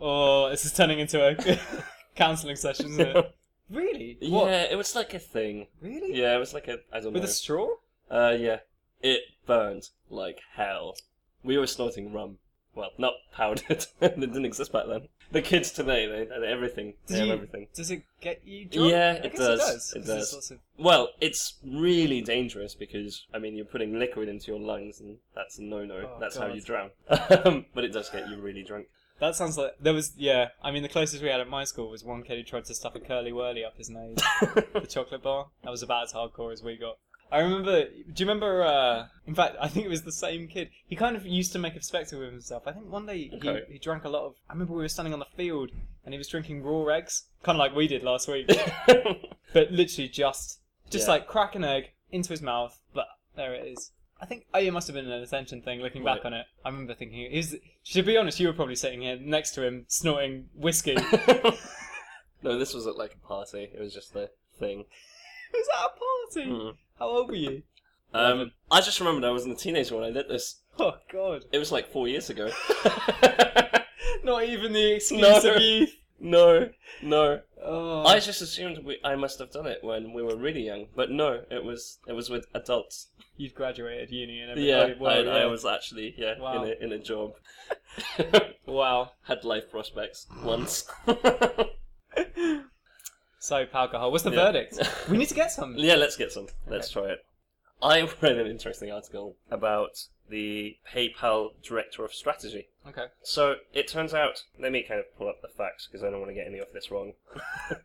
Speaker 1: Oh, this is turning into a counselling session, isn't it? really? What?
Speaker 2: yeah, it was like a thing.
Speaker 1: Really?
Speaker 2: Yeah, it was like a I don't
Speaker 1: With
Speaker 2: know.
Speaker 1: a straw?
Speaker 2: Uh, yeah, it burned like hell. We were snorting rum. Well, not powdered. it didn't exist back then. The kids today, they, they everything. They
Speaker 1: Did
Speaker 2: have
Speaker 1: you-
Speaker 2: everything.
Speaker 1: Does it get you drunk?
Speaker 2: Yeah,
Speaker 1: I
Speaker 2: it
Speaker 1: guess
Speaker 2: does.
Speaker 1: It does.
Speaker 2: It
Speaker 1: 'cause there's
Speaker 2: does.
Speaker 1: lots of-
Speaker 2: Well, it's really dangerous because I mean you're putting liquid into your lungs, and that's a no-no.
Speaker 1: Oh,
Speaker 2: that's how
Speaker 1: God.
Speaker 2: you drown. Um, but it does get you really drunk.
Speaker 1: That sounds like there was yeah. I mean, the closest we had at my school was one kid who tried to stuff a curly whirly up his nose. the chocolate bar. That was about as hardcore as we got. I remember. Do you remember? Uh, in fact, I think it was the same kid. He kind of used to make a spectacle of himself. I think one day
Speaker 2: Okay.
Speaker 1: he, he drank a lot of. I remember we were standing on the field and he was drinking raw eggs, kind of like we did last week, but literally just, just
Speaker 2: Yeah.
Speaker 1: like crack an egg into his mouth. But there it is. I think oh, it must have been an attention thing. Looking back
Speaker 2: Right.
Speaker 1: on it, I remember thinking, "Is to be honest, you were probably sitting here next to him snorting whiskey." was
Speaker 2: no, this was at like a party. It was just the thing.
Speaker 1: that a party?
Speaker 2: Hmm.
Speaker 1: How old were you?
Speaker 2: Um, I just remembered I was in a teenager when I did this.
Speaker 1: Oh God!
Speaker 2: It was like four years ago.
Speaker 1: Not even the excuse
Speaker 2: No.
Speaker 1: of youth.
Speaker 2: no, no.
Speaker 1: Oh.
Speaker 2: I just assumed we, I must have done it when we were really young, but no, it was it was with adults.
Speaker 1: You'd graduated uni and everything.
Speaker 2: Yeah,
Speaker 1: Oh, wow,
Speaker 2: I,
Speaker 1: yeah.
Speaker 2: I was actually yeah
Speaker 1: Wow.
Speaker 2: in a in a job.
Speaker 1: Wow.
Speaker 2: Had life prospects once.
Speaker 1: So, alcohol. What's the
Speaker 2: Yeah.
Speaker 1: verdict? We need to get some.
Speaker 2: Yeah, let's get some. Let's try it. I read an interesting article about the PayPal director of strategy.
Speaker 1: Okay.
Speaker 2: So it turns out, let me kind of pull up the facts because I don't want to get any of this wrong. but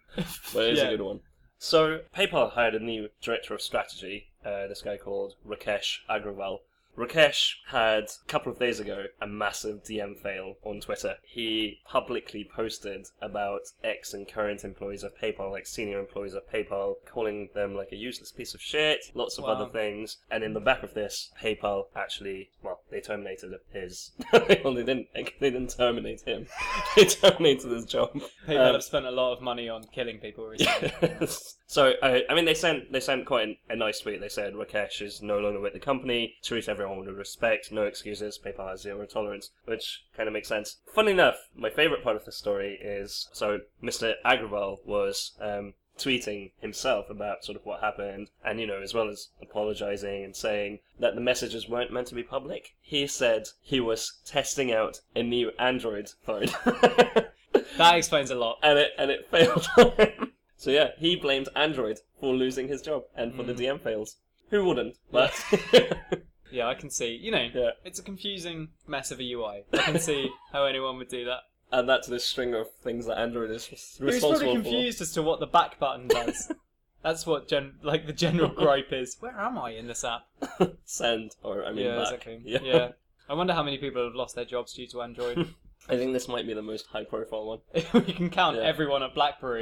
Speaker 2: it is
Speaker 1: Yeah.
Speaker 2: a good one. So PayPal hired a new director of strategy, uh, this guy called Rakesh Agrawal. Rakesh had a couple of days ago a massive DM fail on Twitter. He publicly posted about ex and current employees of PayPal, like senior employees of PayPal, calling them like a useless piece of shit, lots of
Speaker 1: Wow.
Speaker 2: other things. And in the back of this, PayPal actually, well, they terminated his. well, they didn't. They didn't terminate him. they terminated his job.
Speaker 1: People
Speaker 2: Um,
Speaker 1: have spent a lot of money on killing people recently.
Speaker 2: Yes. so uh, I, I mean, they sent they sent quite an, a nice tweet. They said Rakesh is no longer with the company. Treat everyone with respect. No excuses. PayPal has zero tolerance, which kind of makes sense. Funny enough, my favorite part of the story is so Mr. Agrawal was. Um, tweeting himself about sort of what happened and you know as well as apologizing and saying that the messages weren't meant to be public he said he was testing out a new android phone
Speaker 1: that explains a lot.
Speaker 2: and it and it failed on him. So yeah, he blamed Android for losing his job and for the DM fails. Who wouldn't? But
Speaker 1: Mm. Yeah, I can see. You know,
Speaker 2: Yeah.
Speaker 1: it's a confusing mess of a UI. I can see how anyone would do that.
Speaker 2: and that's the string of things that Android is
Speaker 1: He was probably
Speaker 2: responsible for.
Speaker 1: confused as to what the back button does. That's what gen like the general gripe is. Where am I in this app?
Speaker 2: Send or I mean
Speaker 1: yeah,
Speaker 2: back.
Speaker 1: exactly. yeah. I wonder how many people have lost their jobs due to Android.
Speaker 2: I think this might be the most high profile one.
Speaker 1: we can count
Speaker 2: Yeah.
Speaker 1: everyone at BlackBerry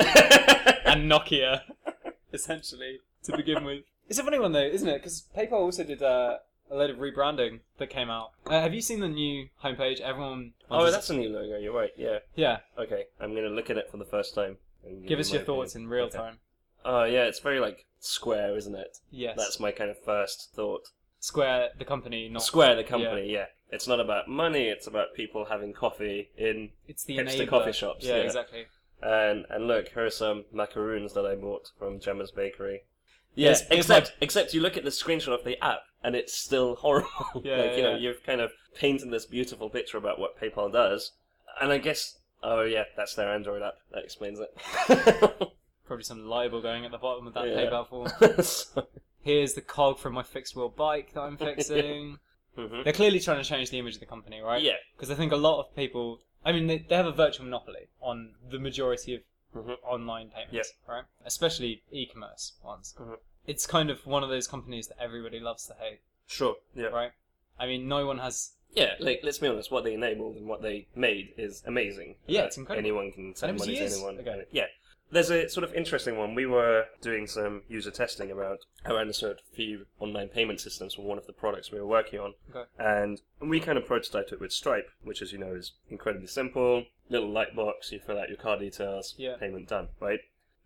Speaker 1: and Nokia, essentially, to begin with. It's a funny one though, isn't it? Because PayPal also did uh, a load of rebranding that came out. Uh, have you seen the new homepage? Everyone.
Speaker 2: oh, that's a new logo. You're right. Yeah.
Speaker 1: yeah.
Speaker 2: Okay, I'm gonna look at it for the first time. and
Speaker 1: Give us
Speaker 2: you
Speaker 1: your
Speaker 2: my
Speaker 1: thoughts in
Speaker 2: opinion.
Speaker 1: real
Speaker 2: Okay.
Speaker 1: time.
Speaker 2: Oh yeah, it's very like square, isn't it?
Speaker 1: Yes.
Speaker 2: That's my kind of first thought.
Speaker 1: Square, the company, not
Speaker 2: Square, the company, yeah. It's not about money, it's about people having coffee in.
Speaker 1: It's the
Speaker 2: Hipster
Speaker 1: enabler.
Speaker 2: coffee shops,
Speaker 1: Yeah,
Speaker 2: yeah.
Speaker 1: exactly.
Speaker 2: And, and look, here are some macaroons that I bought from Gemma's Bakery. Yes,
Speaker 1: It's- it's
Speaker 2: except except you look at the screenshot of the app and it's still horrible.
Speaker 1: Yeah,
Speaker 2: like, you know,
Speaker 1: yeah.
Speaker 2: you've kind of painted this beautiful picture about what PayPal does. And I guess, oh yeah, that's their Android app. That explains it.
Speaker 1: Probably some libel going at the bottom of that
Speaker 2: Yeah.
Speaker 1: PayPal form.
Speaker 2: So-
Speaker 1: Here's the cog from my fixed wheel bike that I'm fixing.
Speaker 2: mhm.
Speaker 1: They're clearly trying to change the image of the company, right?
Speaker 2: Yeah.
Speaker 1: because I think a lot of people. I mean, they, they have a virtual monopoly on the majority of
Speaker 2: Mhm.
Speaker 1: online payments,
Speaker 2: Yep.
Speaker 1: right? Especially e-commerce ones.
Speaker 2: Mhm.
Speaker 1: It's kind of one of those companies that everybody loves to hate,
Speaker 2: Sure. Yeah.
Speaker 1: right? I mean, no one has.
Speaker 2: Yeah, like let's be honest, what they enabled and what they made is amazing.
Speaker 1: Yeah,
Speaker 2: That
Speaker 1: it's incredible.
Speaker 2: Anyone can send
Speaker 1: it was
Speaker 2: money to
Speaker 1: years
Speaker 2: anyone.
Speaker 1: ago.
Speaker 2: and it- Yeah. There's a sort of interesting one. We were doing some user testing around around a sort of few online payment systems for one of the products we were working on.
Speaker 1: Okay.
Speaker 2: And we kind of prototyped it with Stripe, which as you know is incredibly simple. Little light box, you fill out your card details,
Speaker 1: Yeah.
Speaker 2: payment done, right?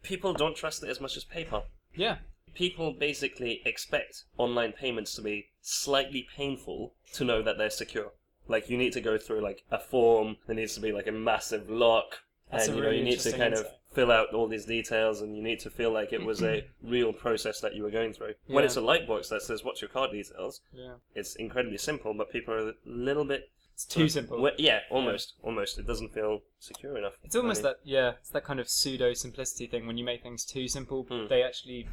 Speaker 2: People don't trust it as much as PayPal.
Speaker 1: Yeah,
Speaker 2: People basically expect online payments to be slightly painful to know that they're secure. Like you need to go through like a form. There needs to be like a massive lock,
Speaker 1: That's
Speaker 2: and
Speaker 1: a
Speaker 2: you know
Speaker 1: really
Speaker 2: you need to
Speaker 1: interesting
Speaker 2: kind
Speaker 1: insight.
Speaker 2: of fill out all these details, and you need to feel like it was a real process that you were going through. When
Speaker 1: Yeah.
Speaker 2: it's a light box that says "What's your card details,"
Speaker 1: yeah.
Speaker 2: it's incredibly simple, but people are a little bit
Speaker 1: It's too simple.
Speaker 2: Well, yeah, almost, almost. It doesn't feel secure enough.
Speaker 1: It's almost
Speaker 2: I mean,
Speaker 1: that. Yeah, it's that kind of pseudo simplicity thing. When you make things too simple,
Speaker 2: Hmm.
Speaker 1: they actually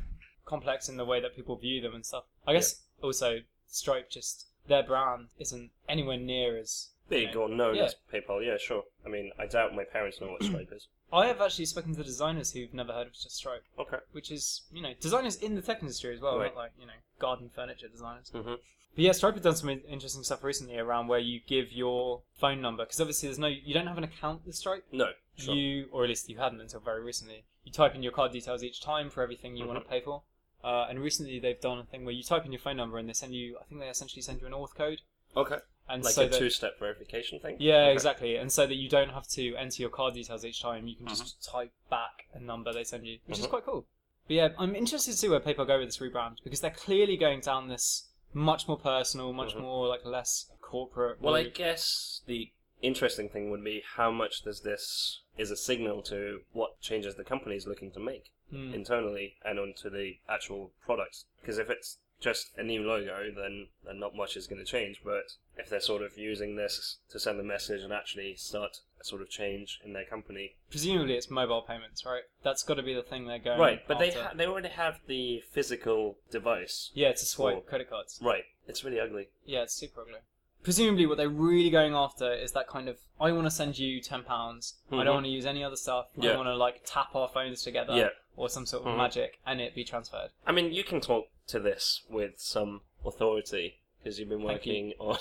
Speaker 1: complex in the way that people view them and stuff. I guess also Stripe just their brand isn't anywhere near as
Speaker 2: Big or known
Speaker 1: Yeah.
Speaker 2: as PayPal, yeah, sure. I mean, I doubt my parents know what Stripe is.
Speaker 1: I have actually spoken to designers who've never heard of just Stripe,
Speaker 2: Okay.
Speaker 1: which is you know designers in the tech industry as well,
Speaker 2: Right.
Speaker 1: not like you know garden furniture designers.
Speaker 2: Mm-hmm.
Speaker 1: But yeah, Stripe have done some in- interesting stuff recently around where you give your phone number because obviously there's no you don't have an account with Stripe.
Speaker 2: No, sure.
Speaker 1: You or at least you hadn't until very recently. You type in your card details each time for everything you
Speaker 2: Mm-hmm.
Speaker 1: want to pay for. Uh, and recently they've done a thing where you type in your phone number and they send you. I think they essentially send you an auth code.
Speaker 2: okay.
Speaker 1: And
Speaker 2: Like
Speaker 1: so
Speaker 2: a
Speaker 1: that,
Speaker 2: two-step verification thing?
Speaker 1: Yeah,
Speaker 2: Okay.
Speaker 1: exactly. And so that you don't have to enter your card details each time, you can just
Speaker 2: Mm-hmm.
Speaker 1: type back a number they send you, which is
Speaker 2: Mhm.
Speaker 1: quite cool. But yeah, I'm interested to see where PayPal go with this rebrand because they're clearly going down this much more personal, much
Speaker 2: Mhm.
Speaker 1: more like less corporate.
Speaker 2: Well, I
Speaker 1: route.
Speaker 2: guess the interesting thing would be how much does this is a signal to what changes the company is looking to make
Speaker 1: Hmm.
Speaker 2: internally and onto the actual products. Because if it's just a new logo, then, then not much is going to change. But if they're sort of using this to send a message and actually start a sort of change in their company,
Speaker 1: presumably it's mobile payments, right? That's got to be the thing they're going.
Speaker 2: right? But they
Speaker 1: after.
Speaker 2: ha- they already have the physical device,
Speaker 1: yeah, to swipe
Speaker 2: Or-
Speaker 1: credit cards.
Speaker 2: right? It's really ugly.
Speaker 1: Yeah, it's super ugly. Presumably, what they're really going after is that kind of I want to send you ten pounds. I
Speaker 2: Mhm.
Speaker 1: don't want to use any other stuff. I
Speaker 2: Yeah.
Speaker 1: want to like tap our phones together
Speaker 2: Yeah.
Speaker 1: or some sort of
Speaker 2: Mhm.
Speaker 1: magic, and it be transferred.
Speaker 2: I mean, you can talk to this with some authority because you've been
Speaker 1: Thank you.
Speaker 2: working on.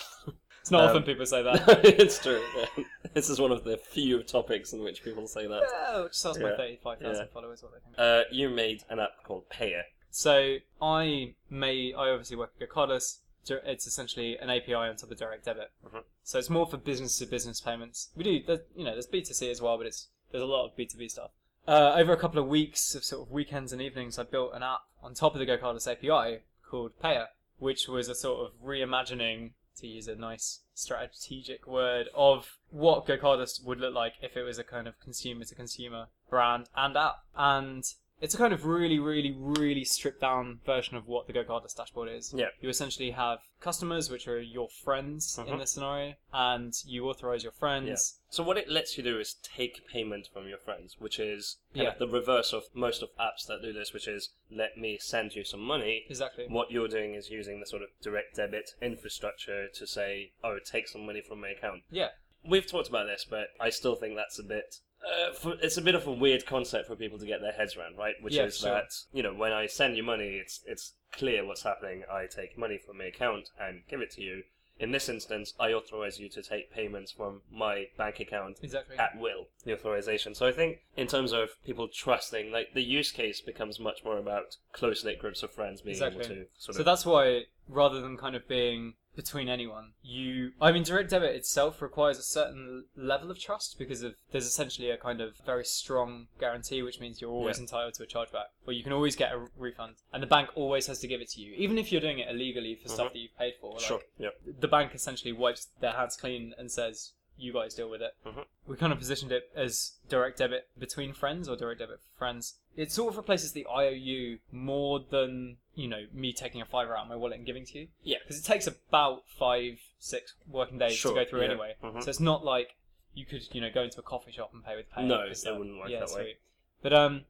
Speaker 1: It's not
Speaker 2: Um,
Speaker 1: often people say that.
Speaker 2: it's true. yeah. This is one of the few topics in which people say that.
Speaker 1: oh, just ask my
Speaker 2: Yeah.
Speaker 1: thirty-five thousand
Speaker 2: Yeah.
Speaker 1: followers what they think.
Speaker 2: Uh, you made an app called Payer.
Speaker 1: So I may I obviously work at Cardless. Dir- It's essentially an API on top of direct debit.
Speaker 2: Mhm.
Speaker 1: So it's more for business to business payments. We do there's, you know there's B two C as well, but it's there's a lot of B two B stuff. Uh, over a couple of weeks of sort of weekends and evenings, I built an app on top of the Go Cardless API called Payer, which was a sort of reimagining, to use a nice strategic word, of what Go Cardless would look like if it was a kind of consumer to consumer brand and app. And it's a kind of really, really, really stripped down version of what the Go Cardless dashboard is.
Speaker 2: Yeah.
Speaker 1: You essentially have customers, which are your friends in
Speaker 2: Mhm.
Speaker 1: this scenario, and you authorize your friends.
Speaker 2: So what it lets you do is take payment from your friends, which is kind
Speaker 1: Yeah.
Speaker 2: of the reverse of most of apps that do this, which is let me send you some money.
Speaker 1: Exactly.
Speaker 2: What you're doing is using the sort of direct debit infrastructure to say, oh, take some money from my account.
Speaker 1: Yeah.
Speaker 2: We've talked about this, but I still think that's a bit. Uh, for, it's a bit of a weird concept for people to get their heads around, right? Which
Speaker 1: Yeah,
Speaker 2: is
Speaker 1: sure.
Speaker 2: that you know when I send you money, it's it's clear what's happening. I take money from my account and give it to you. In this instance, I authorize you to take payments from my bank account
Speaker 1: Exactly.
Speaker 2: at will. The authorization. So I think in terms of people trusting, like the use case becomes much more about close knit groups of friends being able
Speaker 1: Exactly.
Speaker 2: to sort
Speaker 1: So
Speaker 2: of.
Speaker 1: that's why, rather than kind of being between anyone, you. I mean, direct debit itself requires a certain level of trust because of there's essentially a kind of very strong guarantee, which means you're always
Speaker 2: Yeah.
Speaker 1: entitled to a chargeback, or you can always get a refund, and the bank always has to give it to you, even if you're doing it illegally for stuff
Speaker 2: Mhm.
Speaker 1: that you've paid for. Like,
Speaker 2: sure. Yeah.
Speaker 1: the bank essentially wipes their hands clean and says, "You guys deal with it."
Speaker 2: Mhm.
Speaker 1: We kind of positioned it as direct debit between friends or direct debit for friends. It sort of replaces the IOU more than you know me taking a fiver out of my wallet and giving to you
Speaker 2: Yeah.
Speaker 1: because it takes about five, six working days
Speaker 2: Sure,
Speaker 1: to go through
Speaker 2: yeah.
Speaker 1: anyway.
Speaker 2: Mhm.
Speaker 1: So it's not like you could you know go into a coffee shop and pay with pay.
Speaker 2: No,
Speaker 1: because
Speaker 2: it
Speaker 1: that-
Speaker 2: wouldn't work
Speaker 1: yeah,
Speaker 2: that way.
Speaker 1: sweet. But um,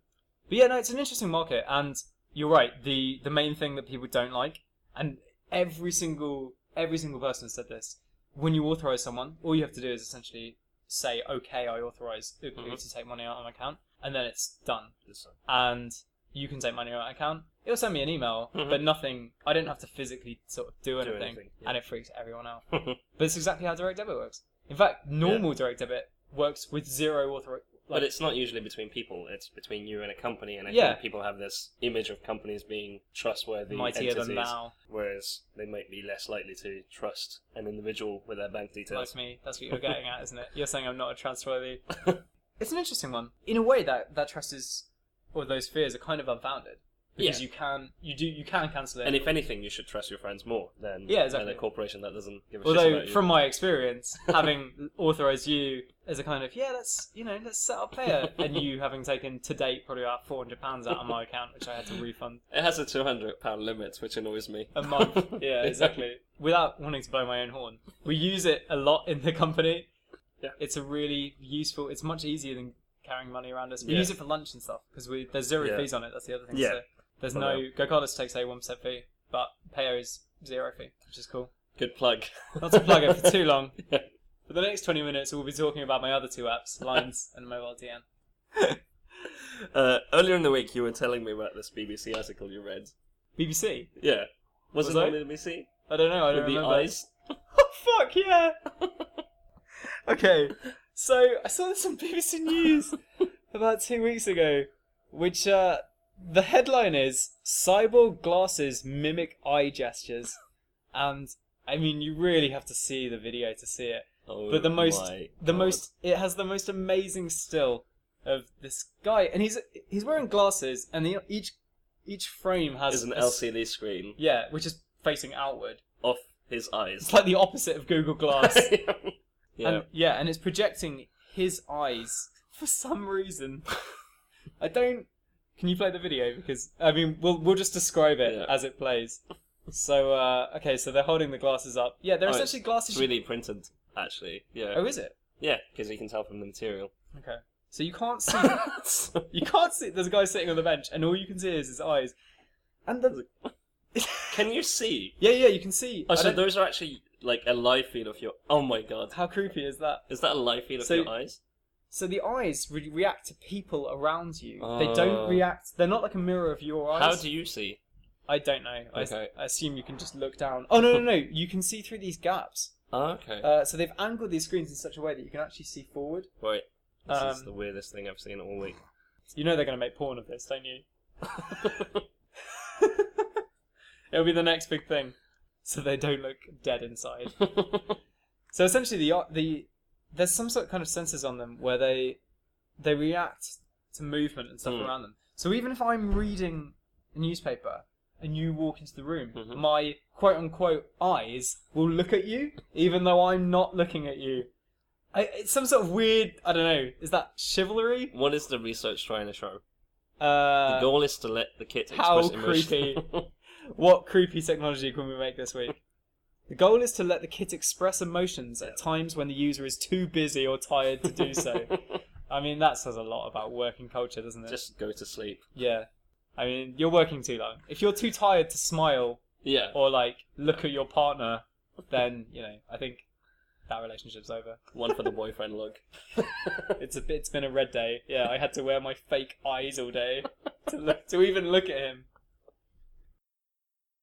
Speaker 1: but yeah, no, it's an interesting market, and you're right. The the main thing that people don't like, and every single every single person has said this. When you authorize someone, all you have to do is essentially say, "Okay, I authorize Uber
Speaker 2: Mhm.
Speaker 1: to take money out of my account," and then it's done
Speaker 2: So-
Speaker 1: and you can take money out of my account. It'll send me an email,
Speaker 2: Mhm.
Speaker 1: but nothing. I don't have to physically sort of do anything,
Speaker 2: anything, yeah.
Speaker 1: and it freaks everyone out. but it's exactly how direct debit works. In fact, normal direct debit works with zero author.
Speaker 2: but it's not usually between people. It's between you and a company, and I
Speaker 1: Yeah.
Speaker 2: think people have this image of companies being trustworthy
Speaker 1: mightier
Speaker 2: entities,
Speaker 1: than thou,
Speaker 2: whereas they might be less likely to trust an individual with their bank
Speaker 1: like
Speaker 2: details.
Speaker 1: me. That's what you're getting at, isn't it? You're saying I'm not a trustworthy. it's an interesting one. In a way, that that trust is, or those fears are kind of unfounded because
Speaker 2: Yeah.
Speaker 1: you can you do you can cancel it.
Speaker 2: And if anything, you should trust your friends more than
Speaker 1: Yeah, exactly.
Speaker 2: than a corporation that doesn't give a shit
Speaker 1: Although,
Speaker 2: about you.
Speaker 1: from my experience, having authorized you as a kind of yeah, let's you know let's set up player, and you having taken to date probably about four hundred pounds out of my account, which I had to refund
Speaker 2: It has a two hundred pound limit, which annoys me.
Speaker 1: a month. Yeah, exactly. Without wanting to blow my own horn, we use it a lot in the company.
Speaker 2: Yeah.
Speaker 1: It's a really useful. It's much easier than carrying money around us. We
Speaker 2: Yeah.
Speaker 1: use it for lunch and stuff because we there's zero
Speaker 2: Yeah.
Speaker 1: fees on it. That's the other thing.
Speaker 2: Yeah.
Speaker 1: So there's
Speaker 2: Oh,
Speaker 1: no GoCardless takes a one percent fee, but Payo is zero fee, which is cool.
Speaker 2: Good plug.
Speaker 1: Not to plug it for too long. For the next 20 minutes, we'll be talking about my other two apps, Lines and Mobile DN.
Speaker 2: Uh, earlier in the week, you were telling me about this BBC article you read.
Speaker 1: BBC?
Speaker 2: Yeah. Was,
Speaker 1: Was
Speaker 2: it
Speaker 1: I?
Speaker 2: on the BBC?
Speaker 1: I don't know, I don't
Speaker 2: With the
Speaker 1: remember.
Speaker 2: eyes?
Speaker 1: Oh, fuck yeah! okay, so I saw this on BBC News about two weeks ago, which uh, the headline is Cyborg glasses mimic eye gestures. And I mean, you really have to see the video to see it.
Speaker 2: Oh,
Speaker 1: But the most-
Speaker 2: my
Speaker 1: the
Speaker 2: God.
Speaker 1: most it has the most amazing still of this guy and he's he's wearing glasses and he, each each frame has
Speaker 2: is an
Speaker 1: a s-
Speaker 2: LCD screen
Speaker 1: yeah which is facing outward
Speaker 2: off his eyes.
Speaker 1: it's like the opposite of google glass
Speaker 2: yeah.
Speaker 1: and yeah and it's projecting his eyes for some reason i don't can you play the video because i mean we'll we'll just describe it
Speaker 2: Yeah.
Speaker 1: as it plays so uh okay so they're holding the glasses up yeah they're
Speaker 2: Oh,
Speaker 1: essentially
Speaker 2: It's
Speaker 1: glasses you-
Speaker 2: really printed, actually. Yeah.
Speaker 1: oh is it
Speaker 2: Yeah, because you can tell from the material.
Speaker 1: okay so you can't see You can't see. There's a guy sitting on the bench, and all you can see is his eyes. And the
Speaker 2: can you see?
Speaker 1: yeah, yeah, you can see.
Speaker 2: Oh,
Speaker 1: I
Speaker 2: so
Speaker 1: don't-
Speaker 2: those are actually like a live feed of your. Oh my god.
Speaker 1: How creepy is that?
Speaker 2: Is that a live feed of
Speaker 1: So-
Speaker 2: your eyes?
Speaker 1: So the eyes re- react to people around you. They don't
Speaker 2: Oh.
Speaker 1: react. They're not like a mirror of your eyes.
Speaker 2: How do you see?
Speaker 1: I don't know. I, s-
Speaker 2: Okay.
Speaker 1: I assume you can just look down. Oh no, no, no! You can see through these gaps.
Speaker 2: Oh, okay.
Speaker 1: Uh, so they've angled these screens in such a way that you can actually see forward.
Speaker 2: right. This is
Speaker 1: um,
Speaker 2: the weirdest thing I've seen all week.
Speaker 1: You know they're going to make porn of this, don't you? It'll be the next big thing. So they don't look dead inside. So essentially, the the there's some sort of kind of sensors on them where they they react to movement and stuff
Speaker 2: Hmm.
Speaker 1: around them. So even if I'm reading a newspaper and you walk into the room,
Speaker 2: Mhm.
Speaker 1: my quote unquote eyes will look at you, even though I'm not looking at you. I, it's some sort of weird. I don't know. Is that chivalry?
Speaker 2: what is the research trying to show? the
Speaker 1: Uh,
Speaker 2: goal is to let the kid
Speaker 1: how
Speaker 2: express emotion.
Speaker 1: what creepy technology can we make this week? The goal is to let the kit express emotions at times when the user is too busy or tired to do so. I mean, that says a lot about working culture, doesn't it?
Speaker 2: Just go to sleep.
Speaker 1: Yeah. I mean, you're working too long. If you're too tired to smile
Speaker 2: Yeah.
Speaker 1: or, like, look at your partner, then, you know, I think that relationship's over.
Speaker 2: One for the boyfriend look.
Speaker 1: It's a bit, it's been a red day. Yeah, I had to wear my fake eyes all day to, look, to even look at him.